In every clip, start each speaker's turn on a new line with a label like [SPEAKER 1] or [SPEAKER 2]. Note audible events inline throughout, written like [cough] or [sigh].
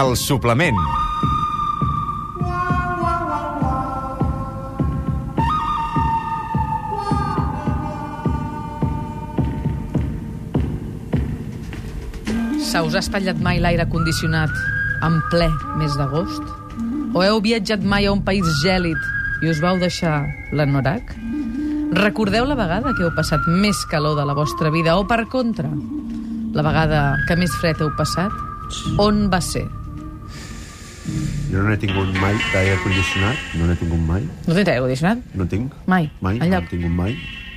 [SPEAKER 1] El suplement.
[SPEAKER 2] Se us ha espatllat mai l'aire condicionat en ple mes d'agost? O heu viatjat mai a un país gèlid i us vau deixar l'anorac? Recordeu la vegada que heu passat més calor de la vostra vida o, per contra, la vegada que més fred heu passat? On va ser?
[SPEAKER 3] Jo no n'he tingut mai d'aire condicionat, no n'he tingut mai,
[SPEAKER 2] No tens aire condicionat?
[SPEAKER 3] no tinc.
[SPEAKER 2] Mai,
[SPEAKER 3] Mai, no
[SPEAKER 2] enlloc.
[SPEAKER 3] n'he tingut mai,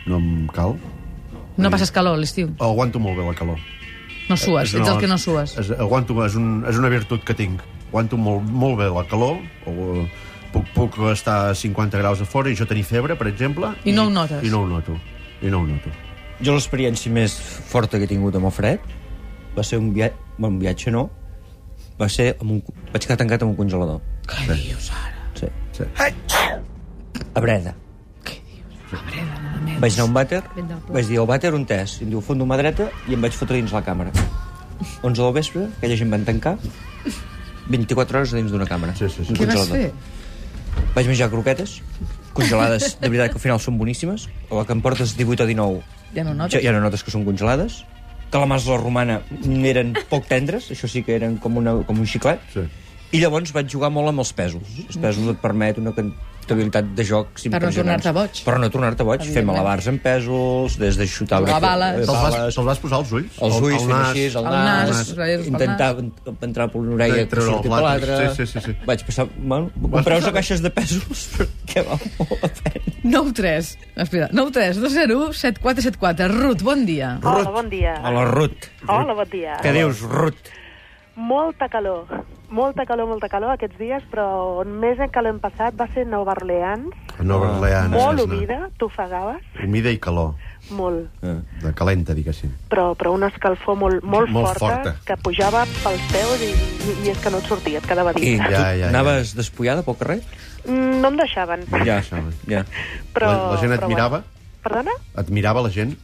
[SPEAKER 3] no em cal.
[SPEAKER 2] No passes calor a l'estiu?
[SPEAKER 3] Aguanto molt bé la calor.
[SPEAKER 2] No sues?
[SPEAKER 3] És
[SPEAKER 2] Ets
[SPEAKER 3] una-
[SPEAKER 2] el que Eh, no sues?
[SPEAKER 3] És, aguanto, és, un, és una virtut que tinc. Aguanto molt, molt bé la calor, o, eh, puc, puc estar a 50 graus a fora i jo tenir febre, per exemple.
[SPEAKER 2] I no ho notes.
[SPEAKER 3] I no ho noto. I no ho noto.
[SPEAKER 4] Jo l'experiència més forta que he tingut amb el fred va ser un viatge... Bueno, un viatge no. Va ser... Amb un... Vaig quedar tancat en un congelador.
[SPEAKER 2] Què dius ara?
[SPEAKER 4] Sí.
[SPEAKER 3] Sí.
[SPEAKER 4] A Breda.
[SPEAKER 2] Què dius? La breda, no la meva.
[SPEAKER 4] Vaig anar a un vàter,
[SPEAKER 2] Ben del poble.
[SPEAKER 4] vaig dir al vàter un test, i em diu fondo mà dreta i em vaig fotre dins la càmera. 11 del vespre, aquella gent van tancar, 24 hores dins d'una càmera.
[SPEAKER 3] Sí, sí, sí.
[SPEAKER 4] Un
[SPEAKER 2] Què vas
[SPEAKER 4] congelador.
[SPEAKER 2] fer?
[SPEAKER 4] Vaig menjar croquetes,
[SPEAKER 2] [laughs]
[SPEAKER 4] congelades, de veritat que al final són boníssimes, a la que em portes 18 o 19
[SPEAKER 2] Ja no
[SPEAKER 4] ja,
[SPEAKER 2] notes?
[SPEAKER 4] ja no notes que són congelades, calamars a la romana eren poc tendres, això sí que eren com, una, com un xiclet,
[SPEAKER 3] Sí.
[SPEAKER 4] i llavors vaig jugar molt amb els pesos. Els pesos et permet una comptabilitat de jocs
[SPEAKER 2] Mm. no
[SPEAKER 4] impressionants.
[SPEAKER 2] tornar-te boig.
[SPEAKER 4] Per no tornar-te boig, fer
[SPEAKER 2] Evidentment.
[SPEAKER 4] malabars amb pesos, des de xutar...
[SPEAKER 2] Jugar
[SPEAKER 4] una-
[SPEAKER 2] bales.
[SPEAKER 4] eh,
[SPEAKER 3] Te'ls
[SPEAKER 4] bales,
[SPEAKER 3] vas, te'ls vas posar als ulls?
[SPEAKER 4] els
[SPEAKER 3] Al-
[SPEAKER 4] ulls,
[SPEAKER 3] al
[SPEAKER 4] fent
[SPEAKER 3] nas.
[SPEAKER 4] així, el
[SPEAKER 2] El
[SPEAKER 4] nas,
[SPEAKER 2] nas, ratlles pel
[SPEAKER 4] intentar en- entrar per una orella i
[SPEAKER 3] Treure el
[SPEAKER 4] sortir per
[SPEAKER 3] plat.
[SPEAKER 4] l'altra.
[SPEAKER 3] Sí, sí, sí, sí.
[SPEAKER 4] Vaig passar... Bueno, comprar una caixes de pesos, [laughs] que val molt la pena.
[SPEAKER 2] 9 3, espera, 9 3 2 0 7 4 7 4. Ruth, bon dia.
[SPEAKER 5] Hola, bon dia.
[SPEAKER 4] Hola, Rut.
[SPEAKER 5] Hola, bon dia.
[SPEAKER 4] Què dius, Rut?
[SPEAKER 5] Molta calor, molta calor, molta calor aquests dies, però on més en calor hem passat va ser Nova Orleans.
[SPEAKER 3] A Nova Orleans.
[SPEAKER 5] Molt
[SPEAKER 3] és una-
[SPEAKER 5] humida, t'ofegaves,
[SPEAKER 3] Humida i calor.
[SPEAKER 5] molt.
[SPEAKER 4] Eh.
[SPEAKER 3] De calenta, diguéssim.
[SPEAKER 5] Però, però una escalfor molt, molt,
[SPEAKER 3] Molt
[SPEAKER 5] forta,
[SPEAKER 3] forta.
[SPEAKER 5] que pujava pels peus i, i, i és que no et sortia, et quedava
[SPEAKER 4] I
[SPEAKER 5] dins.
[SPEAKER 4] ja,
[SPEAKER 3] ja,
[SPEAKER 4] ja,
[SPEAKER 3] ja.
[SPEAKER 4] ja. anaves despullada pel carrer?
[SPEAKER 5] Mm, No em deixaven.
[SPEAKER 4] Ja,
[SPEAKER 3] això,
[SPEAKER 4] ja.
[SPEAKER 5] Però,
[SPEAKER 3] La- la gent et
[SPEAKER 5] però
[SPEAKER 3] mirava?
[SPEAKER 5] Bueno. Perdona?
[SPEAKER 3] Admirava la gent?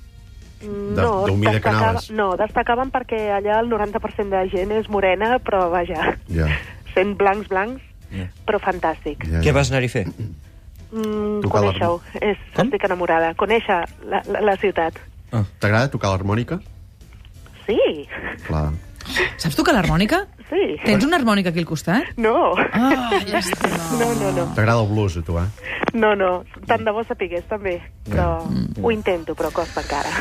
[SPEAKER 5] Mm,
[SPEAKER 3] De-
[SPEAKER 5] No,
[SPEAKER 3] d'humida que
[SPEAKER 5] destacava-
[SPEAKER 3] anaves.
[SPEAKER 5] no, destacaven perquè allà el 90% de gent és morena, però vaja,
[SPEAKER 3] Ja.
[SPEAKER 5] sent blancs, blancs,
[SPEAKER 4] Ja.
[SPEAKER 5] però fantàstic.
[SPEAKER 3] ja.
[SPEAKER 4] Què vas anar-hi a fer?
[SPEAKER 5] Mm,
[SPEAKER 3] Tocar la-
[SPEAKER 5] Conèixer-ho. És,
[SPEAKER 4] Com?
[SPEAKER 5] estic enamorada. Conèixer la, la, la ciutat.
[SPEAKER 4] Ah.
[SPEAKER 3] T'agrada tocar l'harmònica?
[SPEAKER 5] Sí,
[SPEAKER 3] Clar.
[SPEAKER 2] Saps tocar l'harmònica?
[SPEAKER 5] sí.
[SPEAKER 2] Tens una harmònica aquí al costat?
[SPEAKER 5] No.
[SPEAKER 2] Ah, llàstima.
[SPEAKER 5] [laughs] No, no, no.
[SPEAKER 3] T'agrada el blues, a tu, eh?
[SPEAKER 5] No, no. Tant de bo sapigués, també. Però ho intento, però costa encara.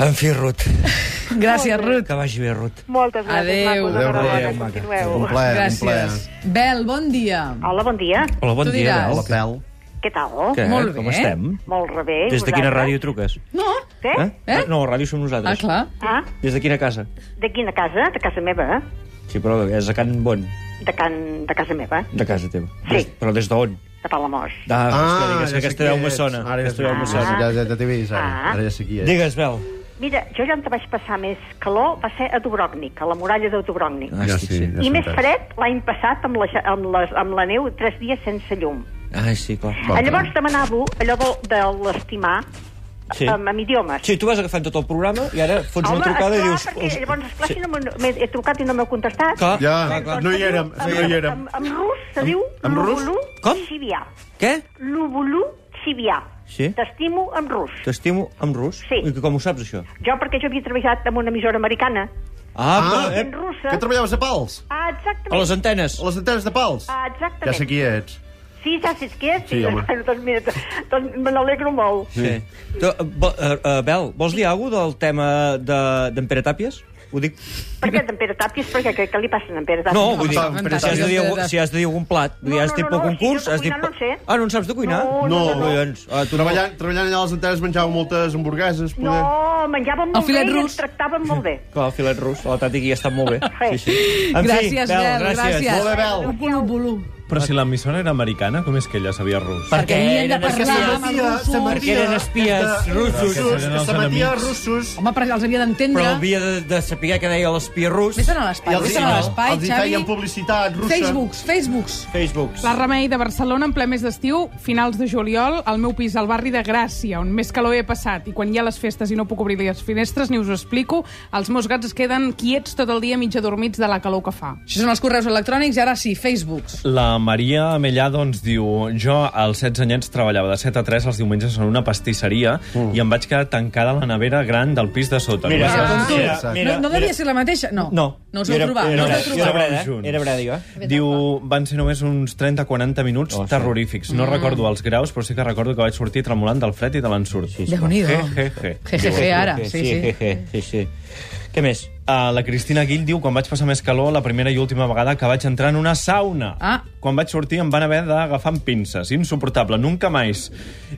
[SPEAKER 4] En fi, Ruth. [laughs]
[SPEAKER 2] Gràcies, Ruth.
[SPEAKER 4] Que vagi bé, Eh, Ruth.
[SPEAKER 5] Moltes gràcies,
[SPEAKER 2] Adéu.
[SPEAKER 5] macos.
[SPEAKER 2] Adéu,
[SPEAKER 5] Enhorabona,
[SPEAKER 4] adéu, maca.
[SPEAKER 3] Un
[SPEAKER 5] Continueu.
[SPEAKER 3] plaer, un plaer.
[SPEAKER 2] Oh, Gràcies. Bel, bon dia.
[SPEAKER 6] Hola, bon dia.
[SPEAKER 4] Hola, bon
[SPEAKER 2] Tu
[SPEAKER 4] dia,
[SPEAKER 2] diràs.
[SPEAKER 4] Bel.
[SPEAKER 3] Hola, Pèl.
[SPEAKER 6] Què tal?
[SPEAKER 4] Què?
[SPEAKER 2] Molt
[SPEAKER 4] Com
[SPEAKER 2] bé.
[SPEAKER 4] estem?
[SPEAKER 6] Molt re bé. i
[SPEAKER 4] Des de quina
[SPEAKER 6] vosaltres?
[SPEAKER 4] ràdio truques?
[SPEAKER 2] No?
[SPEAKER 6] Què?
[SPEAKER 4] Eh?
[SPEAKER 2] Eh?
[SPEAKER 4] No, a ràdio som nosaltres.
[SPEAKER 2] Ah, clar.
[SPEAKER 6] Ah,
[SPEAKER 4] Des de quina casa?
[SPEAKER 6] de quina casa? De casa meva, eh?
[SPEAKER 4] Sí, però és a Can Bon,
[SPEAKER 6] De, can... de casa meva,
[SPEAKER 4] de casa teva.
[SPEAKER 6] Sí.
[SPEAKER 4] Des, però des d'on?
[SPEAKER 6] de Palamós.
[SPEAKER 4] De... Ah, hòstia,
[SPEAKER 3] ja
[SPEAKER 4] digues,
[SPEAKER 3] sé
[SPEAKER 4] que
[SPEAKER 3] qui
[SPEAKER 4] aquesta veu me
[SPEAKER 3] ets.
[SPEAKER 4] sona.
[SPEAKER 3] Ara ja,
[SPEAKER 4] Aquesta veu me
[SPEAKER 3] sé-
[SPEAKER 4] sona.
[SPEAKER 3] ja, ja, ja t'he vist, ara.
[SPEAKER 6] Ah.
[SPEAKER 3] Ara ja sé qui és.
[SPEAKER 4] Digues, Bel.
[SPEAKER 6] Mira, jo ja on te vaig passar més calor va ser a Dubrovnik, a la muralla de Dubrovnik.
[SPEAKER 4] Ah,
[SPEAKER 3] Ja
[SPEAKER 4] sí,
[SPEAKER 3] sí,
[SPEAKER 4] sí.
[SPEAKER 3] ja
[SPEAKER 6] I
[SPEAKER 3] sé
[SPEAKER 6] més
[SPEAKER 3] qui és.
[SPEAKER 6] fred l'any passat amb la, ja- amb, les, amb la neu tres dies sense llum.
[SPEAKER 4] Ai, sí, clar.
[SPEAKER 3] Va,
[SPEAKER 6] Ah, Llavors demanava allò de, de l'estimar
[SPEAKER 4] Sí.
[SPEAKER 6] sí. amb, amb idiomes.
[SPEAKER 4] Sí, tu vas agafant tot el programa i ara fots una trucada i
[SPEAKER 6] esclar,
[SPEAKER 4] dius...
[SPEAKER 6] perquè llavors, esclar, sí. si no m'ho- m'he he trucat i no m'heu contestat.
[SPEAKER 4] Clar.
[SPEAKER 3] Ja,
[SPEAKER 4] clar, clar.
[SPEAKER 3] Ah, no hi érem,
[SPEAKER 6] Amb,
[SPEAKER 3] no hi érem.
[SPEAKER 6] amb, amb rus se diu
[SPEAKER 3] amb rus?
[SPEAKER 6] l'ubulú
[SPEAKER 4] Com?
[SPEAKER 6] xivià.
[SPEAKER 4] Què?
[SPEAKER 6] L'ubulú xivià.
[SPEAKER 4] Sí.
[SPEAKER 6] T'estimo amb rus.
[SPEAKER 4] T'estimo amb rus?
[SPEAKER 6] Sí.
[SPEAKER 4] I com ho saps, això?
[SPEAKER 6] Jo perquè jo havia treballat amb una emissora americana.
[SPEAKER 4] Ah, però,
[SPEAKER 3] Ah.
[SPEAKER 4] eh,
[SPEAKER 6] En russa.
[SPEAKER 3] Que treballaves a pals?
[SPEAKER 6] Ah,
[SPEAKER 4] a
[SPEAKER 6] exactament.
[SPEAKER 4] les antenes.
[SPEAKER 3] A les antenes de pals?
[SPEAKER 6] Ah,
[SPEAKER 3] Ja
[SPEAKER 6] exactament.
[SPEAKER 3] sé qui ets.
[SPEAKER 6] Sí, ja saps què és.
[SPEAKER 3] Sí, home.
[SPEAKER 6] Bueno, [laughs] doncs mira, doncs me n'alegro molt.
[SPEAKER 4] Sí. Tu, eh, bo- eh, eh, Bel, vols dir alguna del tema de- d'en de, Pere Tàpies? Ho dic...
[SPEAKER 6] Per què d'en Pere Tàpies? Per què? Què, què li passa a en Pere Tàpies?
[SPEAKER 4] No, vull dir,
[SPEAKER 3] en Pere
[SPEAKER 4] si has de dir,
[SPEAKER 2] Tàpies.
[SPEAKER 4] algun, si has de dir algun plat, vull dir,
[SPEAKER 6] No,
[SPEAKER 4] has
[SPEAKER 6] no,
[SPEAKER 4] dit
[SPEAKER 6] no,
[SPEAKER 4] pel
[SPEAKER 6] no,
[SPEAKER 4] concurs...
[SPEAKER 6] si jo de
[SPEAKER 4] has dit...
[SPEAKER 6] cuinar no en sé.
[SPEAKER 4] Ah, no en saps de cuinar?
[SPEAKER 6] No,
[SPEAKER 3] no, no.
[SPEAKER 4] Collons, ah, tu no.
[SPEAKER 3] Treballant, treballant allà a les antenes menjàveu moltes hamburgueses,
[SPEAKER 6] No,
[SPEAKER 3] poder?
[SPEAKER 6] menjàvem
[SPEAKER 2] El
[SPEAKER 6] molt bé
[SPEAKER 2] filet
[SPEAKER 6] i
[SPEAKER 2] rus.
[SPEAKER 6] ens tractàvem molt bé.
[SPEAKER 4] Clar, el filet rus, la tàtica ja està molt bé. Sí, sí. En fi,
[SPEAKER 2] Gràcies,
[SPEAKER 4] Bel,
[SPEAKER 2] Bel, gràcies.
[SPEAKER 3] Molt bé, Bel.
[SPEAKER 2] Un bulu, bulu.
[SPEAKER 1] Però si l'emissora era americana, com és que ella sabia rus?
[SPEAKER 2] Perquè havien de
[SPEAKER 4] eren espies.
[SPEAKER 2] parlar amb els
[SPEAKER 3] S'emetia-
[SPEAKER 2] russos.
[SPEAKER 3] s'emetia
[SPEAKER 4] Perquè eren espies
[SPEAKER 3] entre
[SPEAKER 4] russos.
[SPEAKER 1] Eren
[SPEAKER 3] russos.
[SPEAKER 1] els
[SPEAKER 3] S'emetia
[SPEAKER 1] enemics.
[SPEAKER 3] russos.
[SPEAKER 2] Home, perquè els havia d'entendre.
[SPEAKER 4] Però havia de, de saber què deia l'espia rus.
[SPEAKER 2] Vés-te'n a l'espai,
[SPEAKER 3] els,
[SPEAKER 2] vés-te'n a l'espai,
[SPEAKER 3] els hi
[SPEAKER 2] Xavi.
[SPEAKER 3] feien publicitat russa.
[SPEAKER 2] Facebooks, Facebooks.
[SPEAKER 4] Facebooks.
[SPEAKER 7] La Remei de Barcelona, en ple mes d'estiu, finals de juliol, al meu pis, al barri de Gràcia, on més calor he passat. I quan hi ha les festes i no puc obrir les finestres, ni us ho explico, els meus gats es queden quiets tot el dia mig adormits de la calor que fa.
[SPEAKER 2] Això són els correus electrònics i ara sí, Facebooks.
[SPEAKER 1] La Maria Amellado ens diu jo als 16 anyets treballava de 7 a 3 els diumenges en una pastisseria mm. i em vaig quedar tancada a la nevera gran del pis de sota. Doncs,
[SPEAKER 4] Mira,
[SPEAKER 1] Només
[SPEAKER 4] com tu.
[SPEAKER 3] Mira,
[SPEAKER 2] no, no devia ser la mateixa? No.
[SPEAKER 1] No.
[SPEAKER 2] No us vau trobar.
[SPEAKER 4] Era,
[SPEAKER 2] no us
[SPEAKER 4] era,
[SPEAKER 2] vau
[SPEAKER 4] era,
[SPEAKER 2] trobar.
[SPEAKER 4] breda,
[SPEAKER 1] Junts.
[SPEAKER 4] era breda,
[SPEAKER 2] eh?
[SPEAKER 4] jo.
[SPEAKER 1] Diu, van ser només uns 30-40 minuts
[SPEAKER 4] Oh, sí.
[SPEAKER 1] terrorífics.
[SPEAKER 7] Mm.
[SPEAKER 1] No recordo els graus, però sí que recordo que vaig sortir tremolant del fred i de l'ensurt.
[SPEAKER 4] Sí, sí.
[SPEAKER 2] Déu-n'hi-do.
[SPEAKER 1] Je, je, je.
[SPEAKER 2] Jejeje, ara.
[SPEAKER 4] Sí,
[SPEAKER 2] Sí, sí.
[SPEAKER 4] sí, sí, sí. Què més?
[SPEAKER 1] Uh, la Cristina Guill diu quan vaig passar més calor la primera i última vegada que vaig entrar en una sauna.
[SPEAKER 2] Ah.
[SPEAKER 1] Quan vaig sortir em van haver d'agafar amb pinces. Insuportable, nunca mais.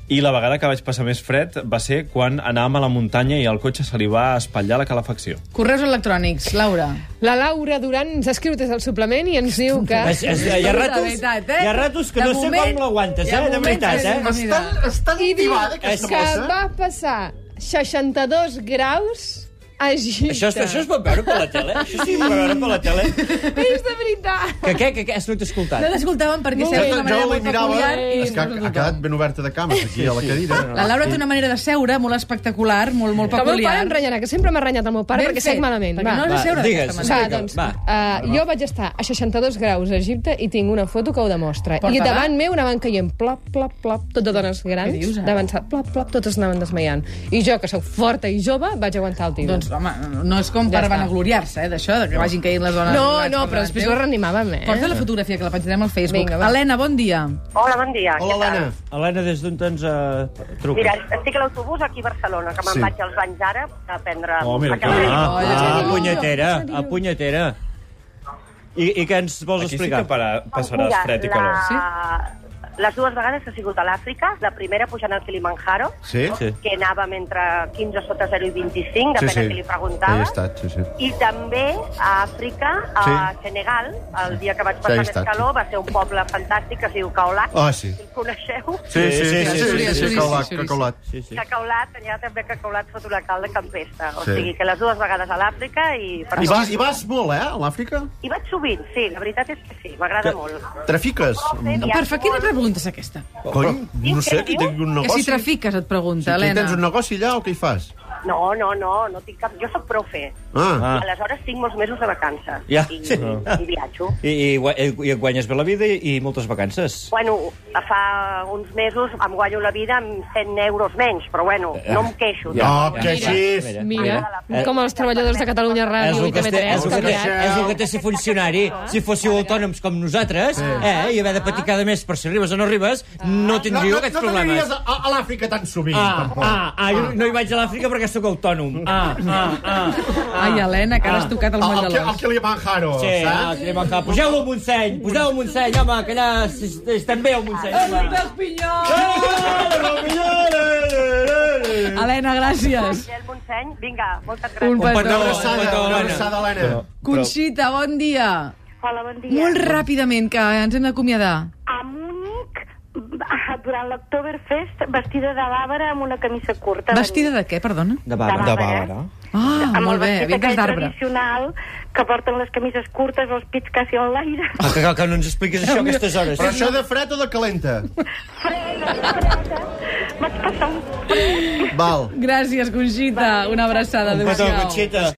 [SPEAKER 1] I la vegada que vaig passar més fred va ser quan anàvem a la muntanya i al cotxe se li va espatllar la calefacció.
[SPEAKER 2] Correus electrònics, Laura.
[SPEAKER 8] La Laura Duran ens ha escrit des del suplement i ens diu que...
[SPEAKER 4] Es, es, hi, ha ratos,
[SPEAKER 2] De veritat, eh?
[SPEAKER 4] hi ha ratos que
[SPEAKER 2] De
[SPEAKER 4] no sé
[SPEAKER 2] moment-
[SPEAKER 4] com l'aguantes,
[SPEAKER 2] hi ha
[SPEAKER 4] eh? De
[SPEAKER 2] moments
[SPEAKER 4] veritat,
[SPEAKER 2] que-
[SPEAKER 4] eh?
[SPEAKER 2] Mira.
[SPEAKER 3] Estan, estan
[SPEAKER 8] I diu
[SPEAKER 3] activada,
[SPEAKER 8] que
[SPEAKER 3] aquesta mossa.
[SPEAKER 8] va passar 62 graus a Egipte.
[SPEAKER 4] Això, es- això es pot veure per la tele? Això sí, es pot veure per la tele?
[SPEAKER 8] És de veritat.
[SPEAKER 4] Que què? Que què? Això no t'he escoltat.
[SPEAKER 2] No l'escoltàvem perquè
[SPEAKER 8] Molt
[SPEAKER 2] seia
[SPEAKER 8] bé.
[SPEAKER 2] d'una manera molt peculiar.
[SPEAKER 8] eh?
[SPEAKER 2] i
[SPEAKER 3] És que ha, ha quedat ben oberta de cames, aquí a la cadira.
[SPEAKER 2] La Laura té una manera de seure molt espectacular, molt, molt
[SPEAKER 8] Que el meu
[SPEAKER 2] peculiar.
[SPEAKER 8] pare em renyarà, que sempre m'ha renyat el meu pare
[SPEAKER 2] Ben
[SPEAKER 8] perquè
[SPEAKER 2] fet,
[SPEAKER 8] sec malament.
[SPEAKER 2] perquè
[SPEAKER 8] Va.
[SPEAKER 2] no has de
[SPEAKER 4] Va,
[SPEAKER 2] seure
[SPEAKER 4] digues.
[SPEAKER 2] d'aquesta
[SPEAKER 8] O sigui,
[SPEAKER 2] manera.
[SPEAKER 4] Va,
[SPEAKER 8] doncs,
[SPEAKER 4] va.
[SPEAKER 8] uh, jo vaig estar a 62 graus a Egipte i tinc una foto que ho demostra.
[SPEAKER 2] Porta-la.
[SPEAKER 8] I davant meu anaven caient plop, plop, plop, tot de dones grans,
[SPEAKER 2] Què dius, ara?
[SPEAKER 8] davant, plop, plop, totes anaven desmaiant. I jo, que sóc forta i jove, vaig aguantar el tiro.
[SPEAKER 2] Doncs, home, no és com
[SPEAKER 8] Ja
[SPEAKER 2] per
[SPEAKER 8] està.
[SPEAKER 2] vanagloriar-se, eh, d'això, de que vagin caient les dones.
[SPEAKER 8] no,
[SPEAKER 2] volants
[SPEAKER 8] no,
[SPEAKER 2] per
[SPEAKER 8] però
[SPEAKER 2] davant
[SPEAKER 8] després
[SPEAKER 2] teu.
[SPEAKER 8] ho reanimàvem, eh?
[SPEAKER 2] Porta la fotografia, que la penjarem al Facebook.
[SPEAKER 8] Vinga, va.
[SPEAKER 2] Helena, bon dia.
[SPEAKER 6] Hola, bon dia.
[SPEAKER 3] Hola, Helena.
[SPEAKER 4] Helena, des d'on ens uh,
[SPEAKER 6] Mira,
[SPEAKER 4] truques?
[SPEAKER 6] estic a l'autobús aquí a Barcelona, que me'n
[SPEAKER 3] Sí.
[SPEAKER 6] sí. vaig als banys ara a prendre...
[SPEAKER 1] Oh, mira,
[SPEAKER 6] a casa
[SPEAKER 1] que
[SPEAKER 6] meva.
[SPEAKER 1] Ah,
[SPEAKER 4] Ah,
[SPEAKER 2] ja sé
[SPEAKER 4] ah,
[SPEAKER 2] dir-ho,
[SPEAKER 4] punyetera,
[SPEAKER 8] ja sé dir-ho.
[SPEAKER 4] a punyetera. I, I què ens vols
[SPEAKER 1] Aquí sí
[SPEAKER 4] explicar?
[SPEAKER 1] que para, passaràs fred i calor.
[SPEAKER 6] La... Les dues vegades que he sigut a l'Àfrica, la primera pujant al Kilimanjaro,
[SPEAKER 3] Sí?
[SPEAKER 4] Sí.
[SPEAKER 6] que anàvem entre 15 sota 0 i 25,
[SPEAKER 3] Sí,
[SPEAKER 6] depèn
[SPEAKER 3] sí.
[SPEAKER 6] de qui li
[SPEAKER 3] Ahí
[SPEAKER 6] preguntava.
[SPEAKER 3] he estat, sí, sí.
[SPEAKER 6] I també a Àfrica, a
[SPEAKER 3] Sí.
[SPEAKER 6] Senegal, el dia que vaig
[SPEAKER 3] he
[SPEAKER 6] passar més
[SPEAKER 3] estat.
[SPEAKER 6] calor, va ser un poble fantàstic que es diu Kaolack.
[SPEAKER 3] Ah, sí.
[SPEAKER 6] Si el coneixeu?
[SPEAKER 3] Sí, sí, sí, sí, sí,
[SPEAKER 2] sí,
[SPEAKER 3] sí,
[SPEAKER 2] sí,
[SPEAKER 3] caulat,
[SPEAKER 2] sí, sí.
[SPEAKER 3] que caulat.
[SPEAKER 4] Sí, sí.
[SPEAKER 6] Que Caulat, allà també que Caulat fot una calda campesta. O
[SPEAKER 3] Sí.
[SPEAKER 6] sigui, que les dues vegades a l'Àfrica i... Per
[SPEAKER 3] I
[SPEAKER 6] tot.
[SPEAKER 3] vas, I vas molt, eh, a l'Àfrica?
[SPEAKER 6] I vaig sovint, sí, la veritat és que sí, m'agrada molt.
[SPEAKER 3] Trafiques?
[SPEAKER 6] Sí,
[SPEAKER 2] Per fa, quina pregunta és aquesta?
[SPEAKER 3] Cony, no sé, que tinc un
[SPEAKER 2] Que si
[SPEAKER 3] negoci.
[SPEAKER 2] trafiques, et pregunta,
[SPEAKER 3] Tu
[SPEAKER 2] Helena.
[SPEAKER 3] tens un negoci allà o què hi fas?
[SPEAKER 6] No, no, no, no tinc cap... Jo sóc profe.
[SPEAKER 3] Ah,
[SPEAKER 4] Ah.
[SPEAKER 6] Aleshores tinc molts mesos de vacances.
[SPEAKER 4] Ja,
[SPEAKER 6] I,
[SPEAKER 4] sí.
[SPEAKER 6] I viatjo.
[SPEAKER 4] I, i, gua- I et guanyes bé la vida i, i moltes vacances.
[SPEAKER 6] Bueno, fa uns mesos em guanyo la vida amb 100 euros menys, però bueno, no em queixo.
[SPEAKER 3] Ja. No, Ah, que així és.
[SPEAKER 4] mira,
[SPEAKER 8] Mira,
[SPEAKER 4] Eh,
[SPEAKER 8] com els treballadors de Catalunya
[SPEAKER 4] És
[SPEAKER 8] Ràdio
[SPEAKER 4] el,
[SPEAKER 8] i
[SPEAKER 4] que té,
[SPEAKER 8] TV3,
[SPEAKER 4] és, el que té,
[SPEAKER 8] canviat.
[SPEAKER 4] és el que té ser funcionari. Si fóssiu autònoms com nosaltres, eh, i haver de patir cada mes per si arribes o no arribes, no tindríeu aquests problemes.
[SPEAKER 3] a, a l'Àfrica tan sovint,
[SPEAKER 4] Ah, ah, ah, jo no hi vaig a l'Àfrica perquè sóc autònom. Ah, ah, ah.
[SPEAKER 2] Ai, Helena, que ara has tocat el moll de l'os.
[SPEAKER 3] Kilimanjaro,
[SPEAKER 4] Sí, ah, crema cap. Pugeu-lo al Montseny, pugeu-lo al Montseny, home, que allà s- estem bé al Montseny. home.
[SPEAKER 2] Helena, gràcies.
[SPEAKER 6] Michel Montseny, vinga, moltes
[SPEAKER 2] Un
[SPEAKER 6] gràcies.
[SPEAKER 4] Un petó,
[SPEAKER 2] petó.
[SPEAKER 4] un petó,
[SPEAKER 3] Una
[SPEAKER 4] Helena.
[SPEAKER 3] abraçada, Helena.
[SPEAKER 2] Conxita, bon dia.
[SPEAKER 5] Hola, bon dia.
[SPEAKER 2] Molt ràpidament, que ens hem d'acomiadar.
[SPEAKER 5] A Múnich, durant l'Octoberfest, vestida de bàbara amb una camisa curta.
[SPEAKER 2] Vestida de què, perdona?
[SPEAKER 4] De
[SPEAKER 5] De Bàbara.
[SPEAKER 2] Ah,
[SPEAKER 5] amb
[SPEAKER 2] molt
[SPEAKER 5] el
[SPEAKER 2] bé,
[SPEAKER 5] vestit
[SPEAKER 2] havia cas
[SPEAKER 5] aquell
[SPEAKER 2] d'arbre.
[SPEAKER 5] tradicional que porten les camises curtes, els pits quasi en l'aire.
[SPEAKER 4] Ah, que, que no ens expliquis això a aquestes hores.
[SPEAKER 3] Però això de fred o de calenta?
[SPEAKER 5] Freda, freda.
[SPEAKER 6] Ah.
[SPEAKER 5] Vaig passar un fred.
[SPEAKER 3] Val.
[SPEAKER 2] Gràcies, Conxita. Una abraçada.
[SPEAKER 4] Un petó,
[SPEAKER 2] Adéu-siau.
[SPEAKER 4] Conxita.